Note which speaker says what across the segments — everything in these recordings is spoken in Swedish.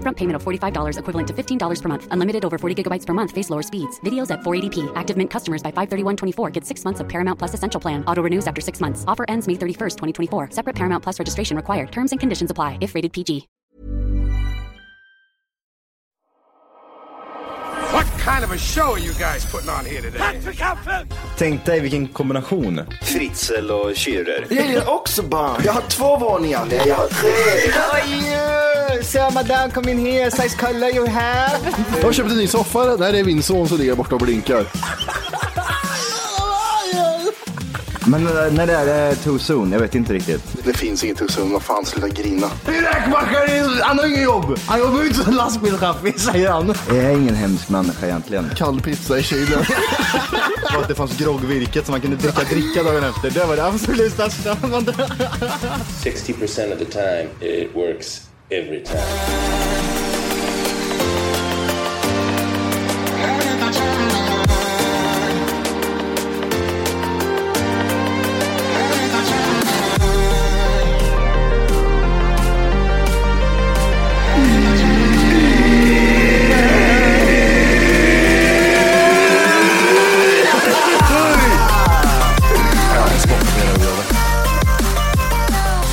Speaker 1: Upfront payment of $45 equivalent to $15 per month. Unlimited over 40 gigabytes per month. Face lower speeds. Videos at 480p. Active Mint customers by 531.24 get six months of Paramount Plus Essential Plan. Auto renews after six months. Offer ends May 31st, 2024. Separate Paramount Plus registration required. Terms and conditions apply if rated PG.
Speaker 2: What kind of a show are you guys putting on here today?
Speaker 3: Tänk dig vilken kombination.
Speaker 4: Fritzl och Schürrer.
Speaker 5: Jag gillar också barn. Jag har två våningar. Nej, jag har tre.
Speaker 3: Sir, madame, come in here, size color you have.
Speaker 6: Jag har köpt en ny soffa. Där är min son som ligger borta och blinkar.
Speaker 3: Men eh, när det är det too soon? Jag vet inte riktigt.
Speaker 5: Det finns inget hos honom. Vad fan, sluta grina.
Speaker 6: Räkmackaren, han har inget jobb. Han jobbar ut som lastbilschaffis, säger han.
Speaker 3: Jag är ingen hemsk människa egentligen.
Speaker 6: Kall pizza i kylen.
Speaker 3: Och att det fanns groggvirket som man kunde dricka dricka dagen efter. Det var det absolut största.
Speaker 4: 60% of the time, it works every time.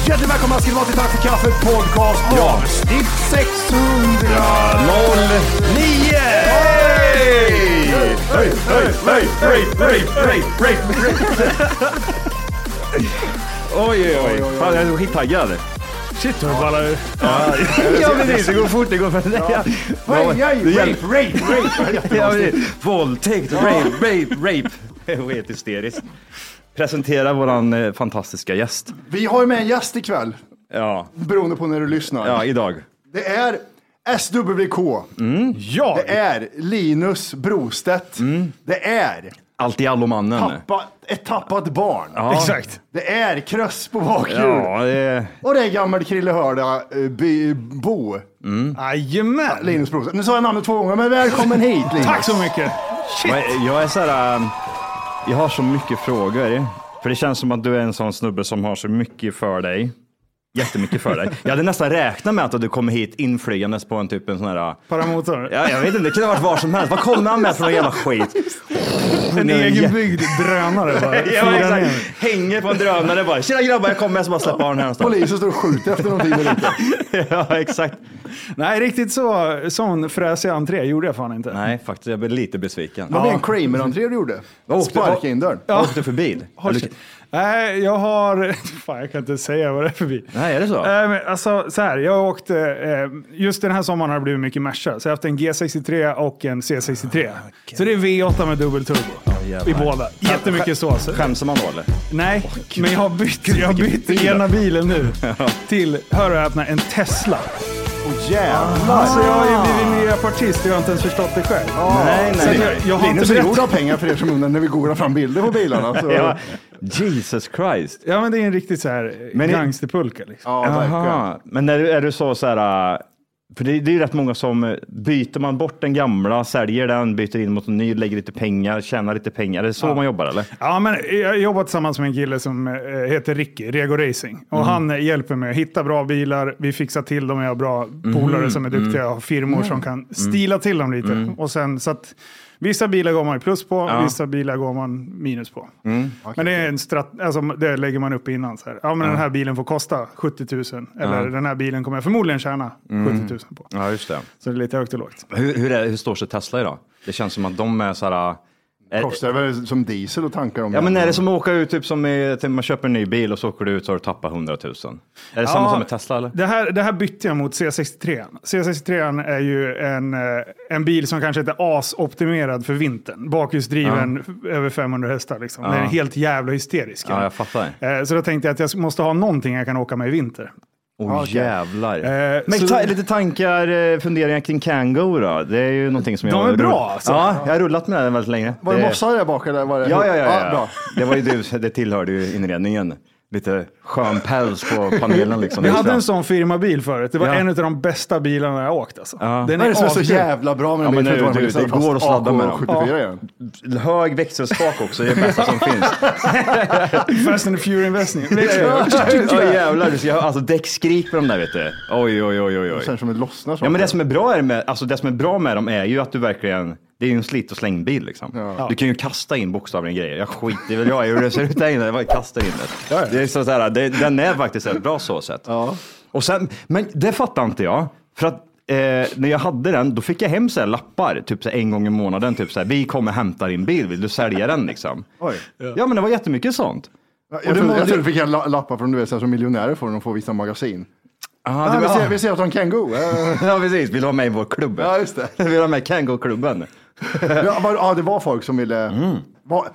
Speaker 7: Hjärtligt välkomna ska ni vara till Tack för kaffet podcast
Speaker 6: Ja.
Speaker 7: avsnitt 600!
Speaker 6: Noll.
Speaker 7: Nio! Hej! Hej, hej, hej, hej, hej, hej, hej, hej.
Speaker 6: Oj, oj, oj. Fan, jag är så skittaggad.
Speaker 7: Shit vad det ballar ur.
Speaker 6: Ja, precis. Det går fort. Det går fort. Ja.
Speaker 7: Hej, hej,
Speaker 6: Det
Speaker 7: hej,
Speaker 6: hjälper.
Speaker 7: hej, hej.
Speaker 6: Ja, precis. Våldtäkt, rape, rape, rape. Det var helt hysteriskt. Presentera våran eh, fantastiska gäst.
Speaker 7: Vi har ju med en gäst ikväll,
Speaker 6: Ja,
Speaker 7: beroende på när du lyssnar.
Speaker 6: ja idag.
Speaker 7: Det är SWK.
Speaker 3: Mm.
Speaker 6: Ja!
Speaker 7: Det är Linus Brostedt.
Speaker 3: Mm.
Speaker 7: Det är
Speaker 6: Allt i allomannen.
Speaker 7: tappa, ett tappat barn.
Speaker 6: Ja. Exakt.
Speaker 7: Det är kröst på bakhjul.
Speaker 6: Ja, det...
Speaker 7: Och det är gammal Krille Hörda eh, by, Bo.
Speaker 6: Mm.
Speaker 2: Jajamän!
Speaker 7: Linus Brostedt. Nu sa jag namnet två gånger, men välkommen hit Linus.
Speaker 2: Tack så mycket!
Speaker 6: Men Jag är så här, ähm, jag har så mycket frågor. För det känns som att du är en sån snubbe som har så mycket för dig. Jättemycket för dig. Jag hade nästan räknat med att du kommer hit inflygandes på en typ en sån här, äh,
Speaker 2: Paramotor.
Speaker 6: ja, jag vet inte, det kunde ha varit var som helst. Vad kommer han med för någon jävla skit?
Speaker 2: En egenbyggd drönare bara.
Speaker 6: Ja,
Speaker 2: Flyger
Speaker 6: exakt.
Speaker 2: ner.
Speaker 6: Hänger på en drönare bara. Tjena grabbar, jag kommer. Jag ska bara släppa av den här någonstans.
Speaker 7: Polisen står och skjuter efter någonting där ute.
Speaker 6: Ja, exakt.
Speaker 2: Nej, riktigt så, sån fräsig entré gjorde jag fan inte.
Speaker 6: Nej, faktiskt. Jag blir lite besviken.
Speaker 7: Var det en Kramer-entré du gjorde?
Speaker 6: Vad åkte-
Speaker 7: Sparka in dörren.
Speaker 6: Vad åkte du för bil?
Speaker 2: Håll
Speaker 6: Eller-
Speaker 2: käft. Nej, jag har... Fan, jag kan inte säga vad det är för bil.
Speaker 6: Nej, är det så?
Speaker 2: Eh, men alltså, så här, jag åkte... eh, Just den här sommaren
Speaker 6: Ah,
Speaker 2: har det blivit mycket Merca, så jag har haft en G63 och en C63. Så det är V8 med dubbelturbo. I båda. Jättemycket sås.
Speaker 6: Skäms man då eller?
Speaker 2: Nej, men jag har bytt, jag har bytt ena bilen nu till, hör och häpna, en Tesla.
Speaker 6: Åh jävlar!
Speaker 2: Alltså jag har ju blivit miljöpartist och jag har inte ens förstått det själv.
Speaker 6: Ah. Nej,
Speaker 2: Så att
Speaker 6: nej, nej.
Speaker 2: jag, jag har inte
Speaker 3: Linus är gjord
Speaker 2: berättat.
Speaker 3: av pengar för er som undrar när vi googlar fram bilder på bilarna. Så.
Speaker 6: Ja. Jesus Christ.
Speaker 2: Ja, men det är en riktigt så här eh,
Speaker 6: Men-
Speaker 2: gangsterpulka. Liksom.
Speaker 3: Ja, verkligen.
Speaker 6: Aha. Men är, du- är du så så här, äh, för det, det är ju rätt många som äh, byter man bort den gamla, säljer den, byter in mot en ny, lägger lite pengar, tjänar lite pengar. Är det så man jobbar eller?
Speaker 2: Ja, men jag jobbar tillsammans med en kille som eh, heter Ricky, Rego Racing.
Speaker 6: Mm.
Speaker 2: Och Han eh, hjälper mig att hitta bra bilar, vi fixar till dem, jag har bra
Speaker 6: Mm.
Speaker 2: polare som är duktiga och firmor som kan stila till dem lite.
Speaker 6: Mm.
Speaker 2: Och sen, så att, vissa bilar går man ju plus på, vissa bilar går man minus på.
Speaker 6: Mm.
Speaker 2: Men det, är en strat- alltså, det lägger man upp innan. Så här. Ja, men Den här bilen får kosta 70 000, eller den här bilen kommer jag förmodligen tjäna 70 000 på.
Speaker 6: Mm. Ja, just det.
Speaker 2: Så det är lite högt och lågt.
Speaker 6: Hur, hur, är, hur står sig Tesla idag? Det känns som att de är så här... äh, är-
Speaker 3: Kostar väl som diesel och tankar om
Speaker 6: Ja, men är det som att åka ut, typ som i, typ man köper en ny bil och så åker du ut och har du tappat 100 000? Är det samma
Speaker 2: Ja,
Speaker 6: som med Tesla eller?
Speaker 2: Det här, det här bytte jag mot C63. C63 är ju en, eh, en bil som kanske inte är asoptimerad för vintern. Bakhjulsdriven f- över 500 hästar. Liksom. Den är helt jävla hysterisk.
Speaker 6: Ja, jag fattar.
Speaker 2: Eh, Så då tänkte jag att jag måste ha någonting jag kan åka med i vinter.
Speaker 6: Åh jävlar.
Speaker 2: Eh,
Speaker 6: men
Speaker 2: så-
Speaker 6: ta, lite tankar, eh, funderingar kring Kango då? Det är ju någonting som
Speaker 2: De
Speaker 6: jag...
Speaker 2: är bra, alltså.
Speaker 6: Ja, jag har rullat med den väldigt länge.
Speaker 3: Var det Mossa där bak? Eller var det...
Speaker 6: Ja, ja, ja. ja.
Speaker 3: bra.
Speaker 6: Det var ju du, det tillhörde ju inredningen. Lite skön päls på panelen liksom.
Speaker 2: Vi hade en sån firmabil förut. Det var
Speaker 6: Ja.
Speaker 2: en av de bästa bilarna jag åkt. Alltså. Den
Speaker 3: Vad är det som är så
Speaker 2: askul.
Speaker 3: jävla bra med den
Speaker 6: Ja, men
Speaker 3: bilen?
Speaker 6: nu,
Speaker 3: förutom
Speaker 6: du,
Speaker 3: att den
Speaker 6: det
Speaker 3: är fast
Speaker 6: går att sladda med dem.
Speaker 3: 74 igen.
Speaker 6: Hög växelspak också, det är det bästa som finns.
Speaker 2: Fast and Fury-investningen.
Speaker 6: Ja jävlar, du ska ha alltså, däckskrik på de där vet du. Oj, oj, oj, oj.
Speaker 3: Sen
Speaker 6: oj.
Speaker 3: som det lossnar
Speaker 6: Ja, men det, som är bra är med, alltså, det som är bra med dem är ju att du verkligen, det är ju en slit och släng bil liksom. Du kan ju kasta in bokstavligen grejer. Jag skiter väl jag i hur det ser ut där inne, jag bara kastar in det. det är så så här, det, den är faktiskt ett bra så sätt. Och sen, men det fattar inte jag. För att eh, när jag hade den, då fick jag hem så här lappar, typ så här, en gång i månaden. Typ så här, vi kommer hämta din bil, vill du sälja den liksom?
Speaker 3: Oj.
Speaker 6: Ja, men det var jättemycket sånt.
Speaker 3: Jag
Speaker 6: Och det
Speaker 3: trodde-
Speaker 6: må-
Speaker 3: jag trodde du fick en la- lappar från du vet, så här som miljonärer får när de får vissa magasin.
Speaker 6: Ah,
Speaker 3: Ah,
Speaker 6: det
Speaker 3: vi,
Speaker 6: var,
Speaker 3: ser, vi ser att de kan gå. Eh,
Speaker 6: Ja, precis. Vill du vara med i vår klubb?
Speaker 3: Ja, just det.
Speaker 6: Vill du vara med i Kango-klubben?
Speaker 3: ja, var, ja, det var folk som ville... Var,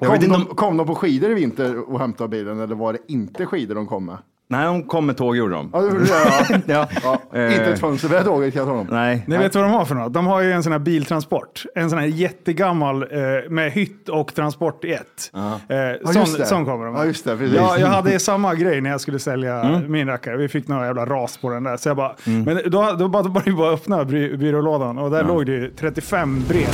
Speaker 6: Jag
Speaker 3: kom,
Speaker 6: vet inte
Speaker 3: de,
Speaker 6: om-
Speaker 3: kom de på skidor i vinter och hämtade bilen eller var det inte skidor de kom med?
Speaker 6: Nej, de kom med tåg gjorde de.
Speaker 3: Ja, det gjorde det, ja.
Speaker 6: Ja.
Speaker 3: Ja,
Speaker 6: Eh,
Speaker 3: inte ett fönsterbrett åker jag honom.
Speaker 6: Nej.
Speaker 2: Ni vet vad de har för något? De har ju en sån här biltransport. En sån här jättegammal eh, med hytt och transport i ett. Eh, sån,
Speaker 3: just det.
Speaker 2: sån kommer de med.
Speaker 3: Ja, just det, precis.
Speaker 2: Ja, jag hade samma grej när jag skulle sälja
Speaker 6: Mm.
Speaker 2: min rackare. Vi fick några jävla ras på den där. Så jag bara, men då, då bara, då bara, bara öppna by, byrålådan och där låg det ju 35 brev.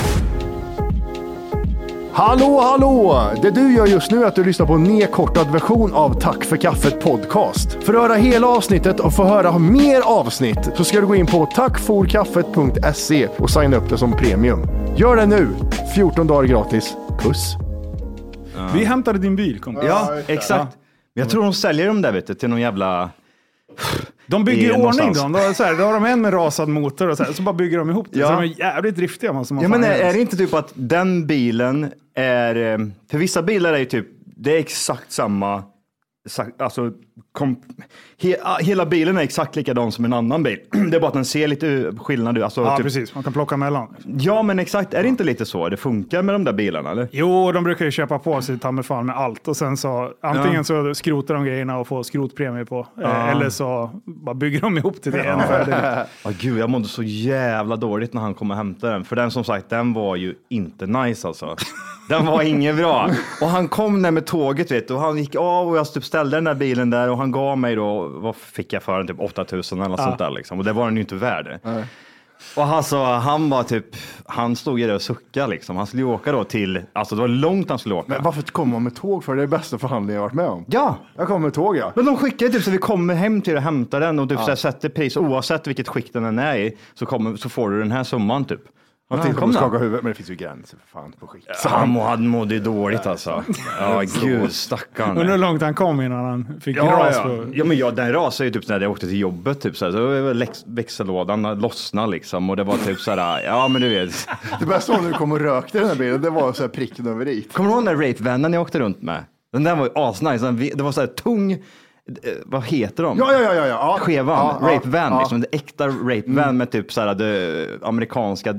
Speaker 3: Hallå, hallå! Det du gör just nu är att du lyssnar på en nedkortad version av Tack för kaffet podcast. För att höra hela avsnittet och få höra mer avsnitt så ska du gå in på tackforkaffet.se och signa upp det som premium. Gör det nu! 14 dagar gratis. Puss!
Speaker 2: Vi hämtade din bil kompis.
Speaker 6: Ja, exakt. Men jag tror de säljer dem där vet du, till någon jävla...
Speaker 2: De bygger
Speaker 6: Det är
Speaker 2: i ordning
Speaker 6: någonstans.
Speaker 2: dem. Då, så här, då har de en med rasad motor och så, här, så bara bygger de ihop det.
Speaker 6: Ja.
Speaker 2: Så de är jävligt driftiga. Man, som man
Speaker 6: Ja, men
Speaker 2: fan
Speaker 6: är,
Speaker 2: gör.
Speaker 6: är det inte typ att den bilen är... eh, För vissa bilar är ju typ, det är exakt samma... exakt- Alltså, kom, he, ah, hela bilen är exakt likadan som en annan bil. Det är bara att den ser lite u- skillnad ut. Alltså,
Speaker 2: Ja,
Speaker 6: typ,
Speaker 2: precis. Man kan plocka mellan.
Speaker 6: ja, men exakt. Är det inte lite så det funkar med de där bilarna? Eller?
Speaker 2: Jo, de brukar ju köpa på sig ta mig fan med allt och sen så antingen så skrotar de grejerna och får skrotpremie på eh, eller så bara bygger de ihop till det. En färdig.
Speaker 6: Ja, gud, jag mådde så jävla dåligt när han kom och hämtade den. För den som sagt, den var ju inte nice alltså. Den var inget bra. Och han kom där med tåget vet du, och han gick av och jag typ ställde den där bilen där och han gav mig då, vad fick jag för den? Typ 8000 eller något sånt där liksom. Och det var den ju inte värd. Och alltså, han var typ, han stod ju där och suckade liksom. Han skulle ju åka då till, alltså det var långt han skulle åka.
Speaker 3: Men varför kommer man med tåg för? Det är den bästa förhandlingen jag varit med om.
Speaker 6: ja,
Speaker 3: Jag kommer med tåg ja.
Speaker 6: men de skickar ju typ så vi kommer hem till dig och hämtar den och typ så här sätter pris oavsett vilket skick den än är i så, kommer, så får du den här summan typ. Och
Speaker 3: Jag
Speaker 6: till-
Speaker 3: kommer
Speaker 6: kom
Speaker 3: skaka
Speaker 6: den.
Speaker 3: huvudet, men det finns ju gränser för fan på skit.
Speaker 6: Så han må, han mådde ju dåligt alltså. Ja, gud
Speaker 2: Undrar hur
Speaker 6: stackarn.
Speaker 2: långt han kom innan han fick
Speaker 6: Ja,
Speaker 2: ras.
Speaker 6: ja.
Speaker 2: På.
Speaker 6: ja, men jag, den rasade ju typ när jag åkte till jobbet. Typ, så här. Så det var läx- växellådan eh, lossnade liksom och det var typ så här, ja men du vet.
Speaker 3: Det bästa var när du kom och rökte den där bilen. Det var så här pricken över i.
Speaker 6: Kommer du ihåg den där rape-vanen jag åkte runt med? Den där var ju asnice. Den ve- Det var så här tung, eh, vad heter de?
Speaker 3: Ja, ja, ja, ja. ja.
Speaker 6: Skevan,
Speaker 3: Ja, Mm. ja,
Speaker 6: rape van,
Speaker 3: ja.
Speaker 6: eh, liksom, det äkta rape van med typ så här, det, amerikanska eh,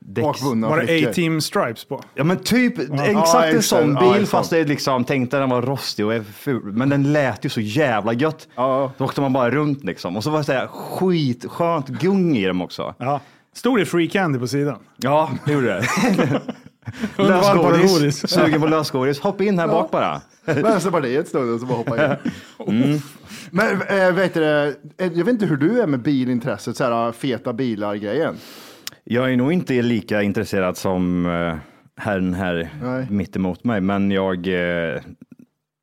Speaker 6: däck.
Speaker 3: Bakbundna
Speaker 2: Var det
Speaker 3: flickor.
Speaker 2: A-Team Stripes på?
Speaker 6: Ja men typ
Speaker 3: Ja,
Speaker 6: exakt en
Speaker 3: exakt.
Speaker 6: sån
Speaker 3: Ja,
Speaker 6: bil
Speaker 3: exakt.
Speaker 6: fast det är liksom, tänk dig den var rostig och ful. Men den lät ju så jävla gött.
Speaker 3: Ja.
Speaker 6: Då åkte man bara runt liksom. Och så var det så här skitskönt gung i dem också.
Speaker 2: Ja. Stod det Free Candy på sidan?
Speaker 6: Ja, det gjorde det.
Speaker 2: Underbar
Speaker 6: lösgodis.
Speaker 2: parodis.
Speaker 6: Sugen på lösgodis. Hoppa in här bak bara.
Speaker 3: Vänsterpartiet stod det och så bara hoppade in. Mm. Men äh, vet du, eh, jag vet inte hur du är med bilintresset, så här eh, feta bilar-grejen.
Speaker 6: Jag är nog inte lika intresserad som eh, herren här
Speaker 3: Nej.
Speaker 6: mittemot mig, men jag... eh,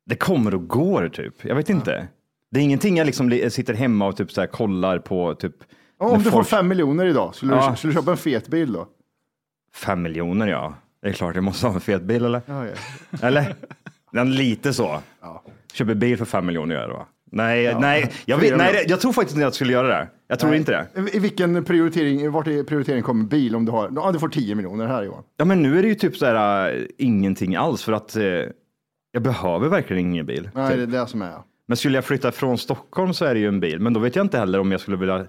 Speaker 6: Det kommer och går typ. Jag vet inte. Det är ingenting jag liksom li- sitter hemma och typ så här kollar på typ...
Speaker 3: Ja,
Speaker 6: när
Speaker 3: Om du får
Speaker 6: folk-
Speaker 3: fem miljoner idag, skulle,
Speaker 6: Ja.
Speaker 3: du, skulle du köpa en fet bil då?
Speaker 6: Fem miljoner ja. Det är klart jag måste ha en fet bil eller?
Speaker 3: Ja, ja.
Speaker 6: Eller? Den lite så. Köper bil för fem miljoner gör jag då. Nej, nej, jag, vet,
Speaker 3: Fyra
Speaker 6: nej,
Speaker 3: miljoner.
Speaker 6: det- jag tror faktiskt inte att jag skulle göra det. Jag tror inte det.
Speaker 3: I- I vilken prioritering, vart i prioritering kommer bil om du har, ja du får 10 miljoner här Johan.
Speaker 6: Ja, men nu är det ju typ så här äh, ingenting alls för att eh, jag behöver verkligen ingen bil.
Speaker 3: Nej,
Speaker 6: typ.
Speaker 3: det är det som är.
Speaker 6: Men skulle jag flytta från Stockholm så är det ju en bil, men då vet jag inte heller om jag skulle vilja.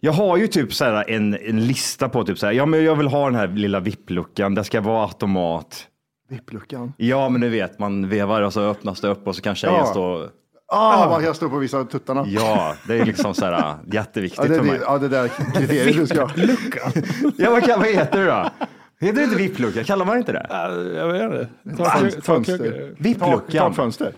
Speaker 6: Jag har ju typ så här en, en lista på typ så här. Ja, men jag vill ha den här lilla vippluckan. Det ska vara automat.
Speaker 3: Vippluckan.
Speaker 6: Ja, men du vet, man vevar och så öppnas det upp och så kan tjejen
Speaker 3: Ja.
Speaker 6: stå.
Speaker 3: Ah, vad jag står på vissa tuttarna.
Speaker 6: Ja, det är liksom så här äh, jätteviktigt
Speaker 3: Ja, det,
Speaker 6: för mig.
Speaker 3: det, ja, det där kriteriet du ska
Speaker 6: Ja, vad, kan, vad heter det då? Heter det inte vipplucka? Kallar man inte det?
Speaker 8: Jag vet inte.
Speaker 3: Fönster.
Speaker 8: Tak-
Speaker 3: Fönster.
Speaker 8: tak-
Speaker 6: Vippluckan.
Speaker 3: Tak, fönster.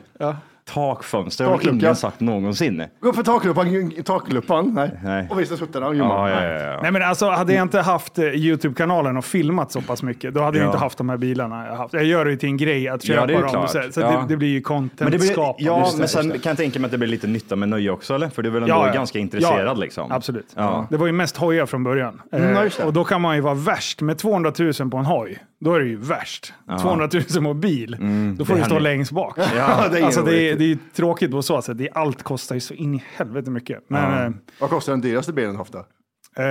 Speaker 6: Takfönster har
Speaker 3: Taklucka.
Speaker 6: ingen sagt någonsin.
Speaker 3: Gå upp för taklupan, taklupan nej.
Speaker 6: Nej.
Speaker 3: och visa tuttarna och
Speaker 6: Ja,
Speaker 3: ljumma.
Speaker 6: ja, ja, ja.
Speaker 2: Nej men alltså hade jag inte haft eh, YouTube-kanalen och filmat så pass mycket, då hade
Speaker 6: Ja.
Speaker 2: jag inte haft de här bilarna jag har haft. Jag gör det ju till en grej att köpa
Speaker 6: Ja, det är ju
Speaker 2: dem.
Speaker 6: klart.
Speaker 2: Så, så
Speaker 6: Ja.
Speaker 2: det, det blir ju
Speaker 6: Men, det blir,
Speaker 2: content-skapande.
Speaker 6: ja,
Speaker 2: Just det,
Speaker 6: men sen
Speaker 2: just det.
Speaker 6: kan jag tänka mig att det blir lite nytta med nöje också, eller? För du är väl ändå ganska intresserad liksom?
Speaker 2: Absolut.
Speaker 6: Ja.
Speaker 2: Det var ju mest hojar från början.
Speaker 3: Mm, ja,
Speaker 2: Eh,
Speaker 3: just det.
Speaker 2: och då kan man ju vara värst. Med 200 000 på en hoj, då är det ju värst. 200 000 på bil, då får
Speaker 6: Mm. det
Speaker 2: du stå
Speaker 6: händer.
Speaker 2: längst bak.
Speaker 6: Ja, det är
Speaker 2: alltså, det, är,
Speaker 6: roligt.
Speaker 2: det är ju tråkigt på så sätt. Det, är- allt kostar ju så in i helvete mycket. Men, eh,
Speaker 3: Vad kostar den dyraste bilen du haft då?
Speaker 2: Eh,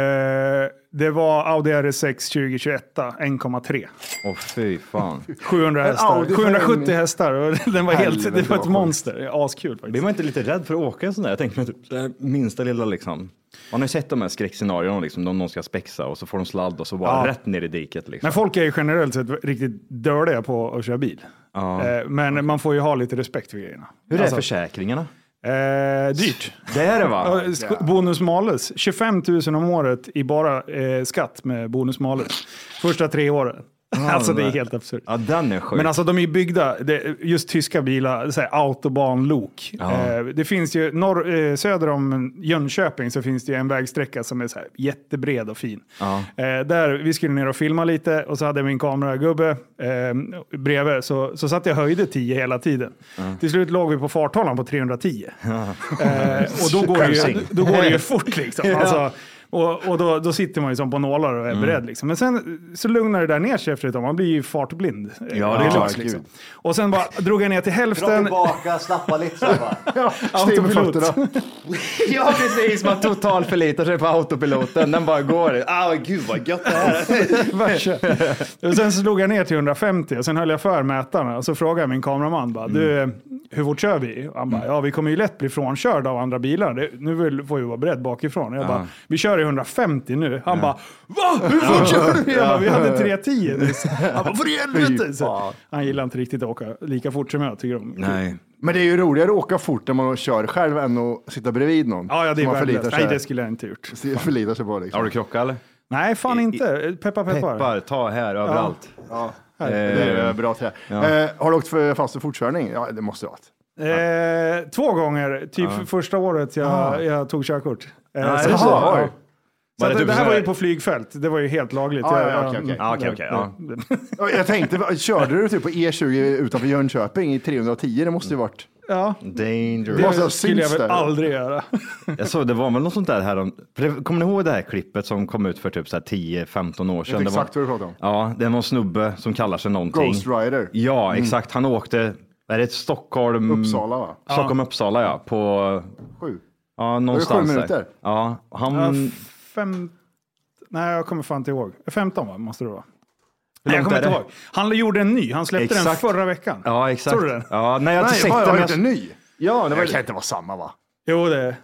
Speaker 2: det var Audi RS6 2021, 1,3.
Speaker 6: Åh fy fan.
Speaker 2: 700 hästar.
Speaker 3: Audi för
Speaker 2: 770
Speaker 3: en-
Speaker 2: hästar. och Den var helt,
Speaker 3: Helvete,
Speaker 2: det var
Speaker 3: vad
Speaker 2: ett
Speaker 3: sjukt.
Speaker 2: monster. Det är Askul
Speaker 6: Blir
Speaker 2: faktiskt.
Speaker 6: man inte lite rädd för att åka en sån där? Jag tänker mig typ det här minsta lilla liksom. Man har ju sett de här skräckscenarierna liksom, de någon ska spexa och så får de sladd och så bara
Speaker 2: Ja.
Speaker 6: rätt ner i diket liksom.
Speaker 2: Men folk är ju generellt sett riktigt dåliga på att köra bil.
Speaker 6: Ja.
Speaker 2: Eh, Men man får ju ha lite respekt för grejerna.
Speaker 6: Hur är
Speaker 2: Alltså,
Speaker 6: försäkringarna?
Speaker 2: eh, dyrt.
Speaker 6: Det är det va?
Speaker 2: Ja, sk- Bonus malus. 25 000 om året i bara eh, skatt med bonus malus. Första tre åren. alltså det är helt absurt.
Speaker 6: Ja, den är sjuk.
Speaker 2: Men alltså de är ju byggda, det, just tyska bilar, så här, autobahnlok. Eh, det finns ju, norr, eh, söder om Jönköping så finns det ju en vägsträcka som är så här, jättebred och fin. Eh, där, vi skulle ner och filma lite och så hade jag min kameragubbe eh, bredvid. Så, så satt jag och höjde 10 hela tiden. Till slut låg vi på farthållaren på 310. Eh, och då går, det ju,
Speaker 6: Skärpsing.
Speaker 2: då går det ju fort liksom. Alltså, och och då, då sitter man ju som på nålar och är beredd. Liksom. Men sen så lugnar det där ner sig efter ett tag. Man blir ju fartblind. Eh,
Speaker 6: Ja, det är klart, gud.
Speaker 2: liksom. Och sen bara drog jag ner till hälften.
Speaker 6: tillbaka, slappa lite så bara.
Speaker 3: Stig med
Speaker 2: Autopilot.
Speaker 3: fötterna.
Speaker 6: ja, precis. Man total förlitar sig på autopiloten. Den bara går. Ah, gud vad gött det här
Speaker 2: Och sen så slog jag ner till 150 och sen höll jag för mätarna. Och så frågade jag min kameraman, bara, du,
Speaker 6: Mm.
Speaker 2: hur fort kör vi? Och Han bara, ja vi kommer ju lätt bli frånkörda av andra bilar. Det, nu vill, får vi vara beredd bakifrån. Och Jag bara, vi kör i 150 nu. Han bara, va? Hur fort kör du? Jag bara, vi hade 310 nyss. Han bara, för helvete! Så, han gillar inte riktigt att åka lika fort som jag tycker om.
Speaker 6: Nej.
Speaker 3: Men det är ju roligare att åka fort när man kör själv än att sitta bredvid någon.
Speaker 2: Ja, ja det
Speaker 3: som
Speaker 2: är
Speaker 3: man förlitar
Speaker 2: värdelöst.
Speaker 3: sig,
Speaker 2: Nej, det skulle jag inte gjort.
Speaker 3: förlitar sig på. Liksom.
Speaker 6: Har du krockat eller?
Speaker 2: Nej, fan inte. Peppa peppar.
Speaker 6: Peppar, ta här överallt. Eh,
Speaker 3: Det är ju bra trä. Eh, har du åkt för fast för fortkörning? Ja, det måste du ha haft.
Speaker 2: Eh, två gånger, typ för första året jag, jag tog körkort. Eh, så-
Speaker 6: det är så.
Speaker 2: ja.
Speaker 6: Oj.
Speaker 2: Så
Speaker 6: Var
Speaker 2: det,
Speaker 6: det typ
Speaker 2: det här
Speaker 6: så
Speaker 2: var
Speaker 6: här-
Speaker 2: ju på flygfält, det var ju helt lagligt.
Speaker 3: Ja,
Speaker 2: Jag-
Speaker 3: ja,
Speaker 2: jag-
Speaker 3: okej, okej.
Speaker 6: Ja, Mm. okej, okej. Ja.
Speaker 3: Ja, Jag tänkte, körde du typ på E20 utanför Jönköping i 310? Det måste ju varit.
Speaker 2: ja.
Speaker 6: Danger.
Speaker 3: Måste ha
Speaker 2: Det skulle jag
Speaker 3: synts
Speaker 2: väl
Speaker 3: där.
Speaker 2: aldrig göra.
Speaker 6: Jag såg det var väl något sånt där här om, för det, Kommer ni ihåg det här klippet som kom ut för typ så här 10-15 år sedan?
Speaker 3: vet
Speaker 6: Det var-
Speaker 3: exakt vad du pratar om.
Speaker 6: Ja, det var en snubbe som kallar sig någonting.
Speaker 3: Ghost Rider. Mm.
Speaker 6: Ja, exakt. Han åkte, är det Stockholm?
Speaker 3: Uppsala, va?
Speaker 6: Stockholm, Uppsala ja. På,
Speaker 3: Sju.
Speaker 6: ja någonstans där.
Speaker 3: minuter?
Speaker 6: Ja, han,
Speaker 2: Ja, Fem... Nej, jag kommer fan inte ihåg. 15 va, måste det vara. Nej, jag
Speaker 6: långt
Speaker 2: kommer
Speaker 6: är
Speaker 2: inte
Speaker 6: det?
Speaker 2: ihåg. Han gjorde en ny, han släppte
Speaker 6: Exakt.
Speaker 2: den förra veckan.
Speaker 6: ja exakt.
Speaker 2: Såg du den?
Speaker 6: Ja, nej, jag har inte
Speaker 3: Nej,
Speaker 6: sett
Speaker 3: vad,
Speaker 6: den.
Speaker 3: har
Speaker 6: men
Speaker 3: du
Speaker 6: jag-
Speaker 3: gjort en ny?
Speaker 6: Ja, det
Speaker 3: Det
Speaker 6: var
Speaker 3: kan inte vara samma va?
Speaker 2: Jo, det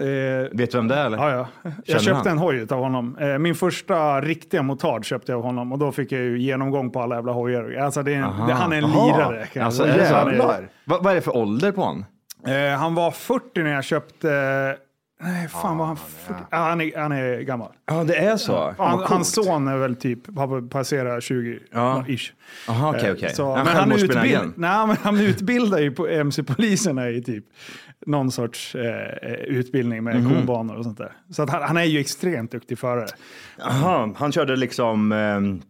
Speaker 2: Eh,
Speaker 6: Vet du vem det är eller?
Speaker 2: Ja, ja.
Speaker 6: Känner
Speaker 2: Jag
Speaker 6: han?
Speaker 2: köpte en hoj av honom. Eh, Min första riktiga motard köpte jag av honom och då fick jag ju genomgång på alla jävla hojar. Alltså det är en,
Speaker 6: Aha.
Speaker 2: det, han är en
Speaker 6: Aha.
Speaker 2: lirare. kan jag
Speaker 6: Alltså,
Speaker 2: säga.
Speaker 6: är det så?
Speaker 2: Han är-
Speaker 3: Jävlar.
Speaker 6: Va, vad är det för ålder på honom?
Speaker 2: Eh, han var 40 när jag köpte... Nej, fan var han 40? Ah, han, är, han är gammal.
Speaker 6: Ja, det är så.
Speaker 2: Han, hans son är väl typ, har passerat 20
Speaker 6: Ja.
Speaker 2: ish.
Speaker 6: Jaha, okej, okej.
Speaker 2: Så-
Speaker 6: Är Eh, han
Speaker 2: men han,
Speaker 6: självmordsbenägen?
Speaker 2: utbild, nej, men han utbildar ju på MC-poliserna i typ någon sorts eh, utbildning med
Speaker 6: Mhm.
Speaker 2: kobanor och sånt där. Så att han, han är ju extremt duktig förare.
Speaker 6: Jaha, han körde liksom ehm,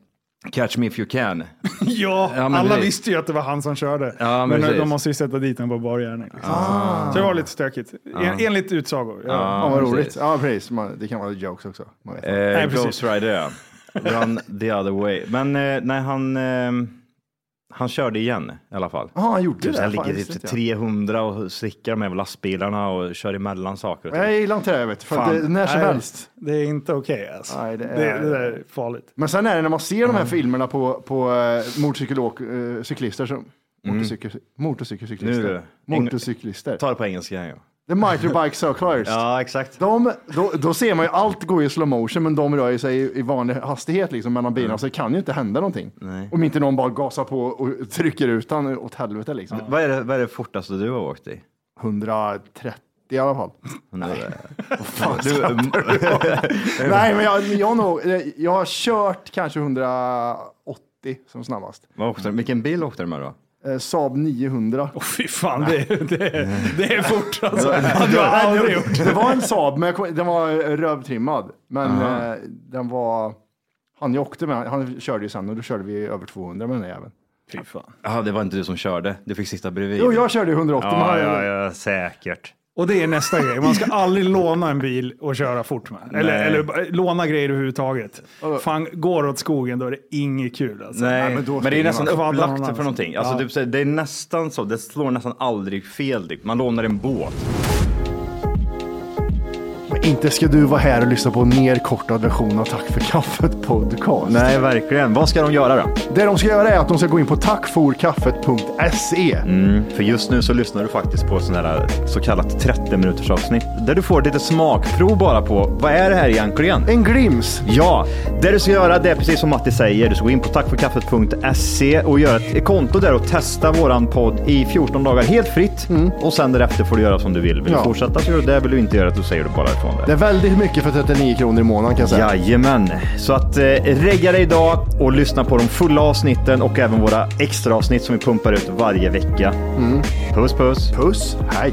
Speaker 6: Catch me if you can.
Speaker 2: ja,
Speaker 6: Ja, men
Speaker 2: alla
Speaker 6: precis.
Speaker 2: visste ju att det var han som körde.
Speaker 6: Ja,
Speaker 2: men
Speaker 6: precis.
Speaker 2: de måste ju sätta dit honom på bar gärning. Liksom.
Speaker 3: Ah.
Speaker 2: Så det var lite stökigt. En, enligt utsagor. Ja.
Speaker 3: Ja, vad
Speaker 6: precis.
Speaker 3: roligt. Ja, precis. Man, det kan vara jokes också. Man vet.
Speaker 6: Eh,
Speaker 2: Nej, precis.
Speaker 6: Ghost Rider, ja. Run the other way. Men eh, nej, han, ehm, han körde igen i alla fall.
Speaker 3: Ja, han gjorde
Speaker 6: Typ,
Speaker 3: det.
Speaker 6: så han
Speaker 3: Fan,
Speaker 6: ligger
Speaker 3: visste
Speaker 6: typ
Speaker 3: inte jag.
Speaker 6: 300 och slickar med lastbilarna och kör emellan saker. och ting.
Speaker 3: Nej, jag gillar inte det, här, vet du, för att
Speaker 6: Fan.
Speaker 3: det, när som
Speaker 2: Nej.
Speaker 3: helst.
Speaker 2: Det är inte okej alltså.
Speaker 3: Nej, det är-
Speaker 2: det, det där är farligt.
Speaker 3: Men sen är det när man ser
Speaker 6: Mm.
Speaker 3: de här filmerna på, på eh, motorcykelåk- eh, cyklister som... Motorcykel, motorcykelcyklister.
Speaker 6: Mm. Nu är det-
Speaker 3: Motorcyklister.
Speaker 6: Ta det på engelska igen. Ja.
Speaker 3: The Microbike Circlers.
Speaker 6: ja, exakt.
Speaker 3: De, då, då ser man ju allt går i slow motion, men de rör ju sig i, i vanlig hastighet liksom, mellan
Speaker 6: Mm.
Speaker 3: bilarna, så det kan ju inte hända någonting. Om inte någon bara gasar på och trycker ut den åt helvete. Liksom.
Speaker 6: Vad, är det, vad är det fortaste du har åkt i?
Speaker 3: 130 i alla fall.
Speaker 6: Nej.
Speaker 3: Du, Nej, men jag, jag, har nog, jag har kört kanske 180 som snabbast.
Speaker 6: Vad åkte, du- vilken bil åkte du med då?
Speaker 3: Eh, Saab 900.
Speaker 2: Åh fy fan, det, det, det är fort alltså. Hade jag aldrig gjort.
Speaker 3: Det var en Saab, men jag kom, den var eh, rövtrimmad. Men eh, den var... Han jag åkte med, han körde ju sen och då körde vi över 200 med den där jäveln.
Speaker 2: Fy fan.
Speaker 6: Ja, det var inte du som körde. Du fick sitta bredvid.
Speaker 3: Jo, jag körde ju 180 med
Speaker 6: ja,
Speaker 3: den.
Speaker 6: ja, ja, säkert.
Speaker 2: Och det är nästa grej. Man ska aldrig låna en bil och köra fort med. Eller,
Speaker 6: Nej.
Speaker 2: eller bara låna grejer överhuvudtaget. Fan, går åt skogen då är det inget kul alltså.
Speaker 6: Nej,
Speaker 3: Nej, men
Speaker 6: men,
Speaker 3: då
Speaker 6: det är
Speaker 3: springer
Speaker 6: nästan
Speaker 3: man.
Speaker 2: Faddlar
Speaker 6: upplagt
Speaker 2: någon
Speaker 6: för
Speaker 2: annan.
Speaker 6: någonting. Alltså,
Speaker 2: Ja.
Speaker 6: typ så här, det är nästan så, det slår nästan aldrig fel. Typ. Man lånar en båt.
Speaker 3: Men inte ska du vara här och lyssna på en nerkortad version av Tack för kaffet podcast.
Speaker 6: Nej, verkligen. Vad ska de göra då?
Speaker 3: Det de ska göra är att de ska gå in på tackforkaffet.se.
Speaker 6: Mm. För just nu så lyssnar du faktiskt på sådana här eh, så kallat 30 minuters avsnitt där du får lite smakprov bara på vad är det här egentligen?
Speaker 3: En glims.
Speaker 6: Ja, det du ska göra det är precis som Matti säger. Du ska gå in på tackforkaffet.se och göra ett konto där och testa våran podd i 14 dagar helt fritt. Och sen därefter får du göra som du vill. Vill
Speaker 3: Mm. Ja.
Speaker 6: du fortsätta så gör du det. Vill du inte göra det så säger du bara ifrån
Speaker 3: Det
Speaker 6: det.
Speaker 3: är väldigt mycket för 39 kronor i månaden kan jag säga.
Speaker 6: Jajamän, så att eh, regga dig idag och lyssna på de fulla avsnitten och även våra extra avsnitt som vi pumpar ut varje vecka.
Speaker 3: Mm.
Speaker 6: Puss puss!
Speaker 3: Puss, hej.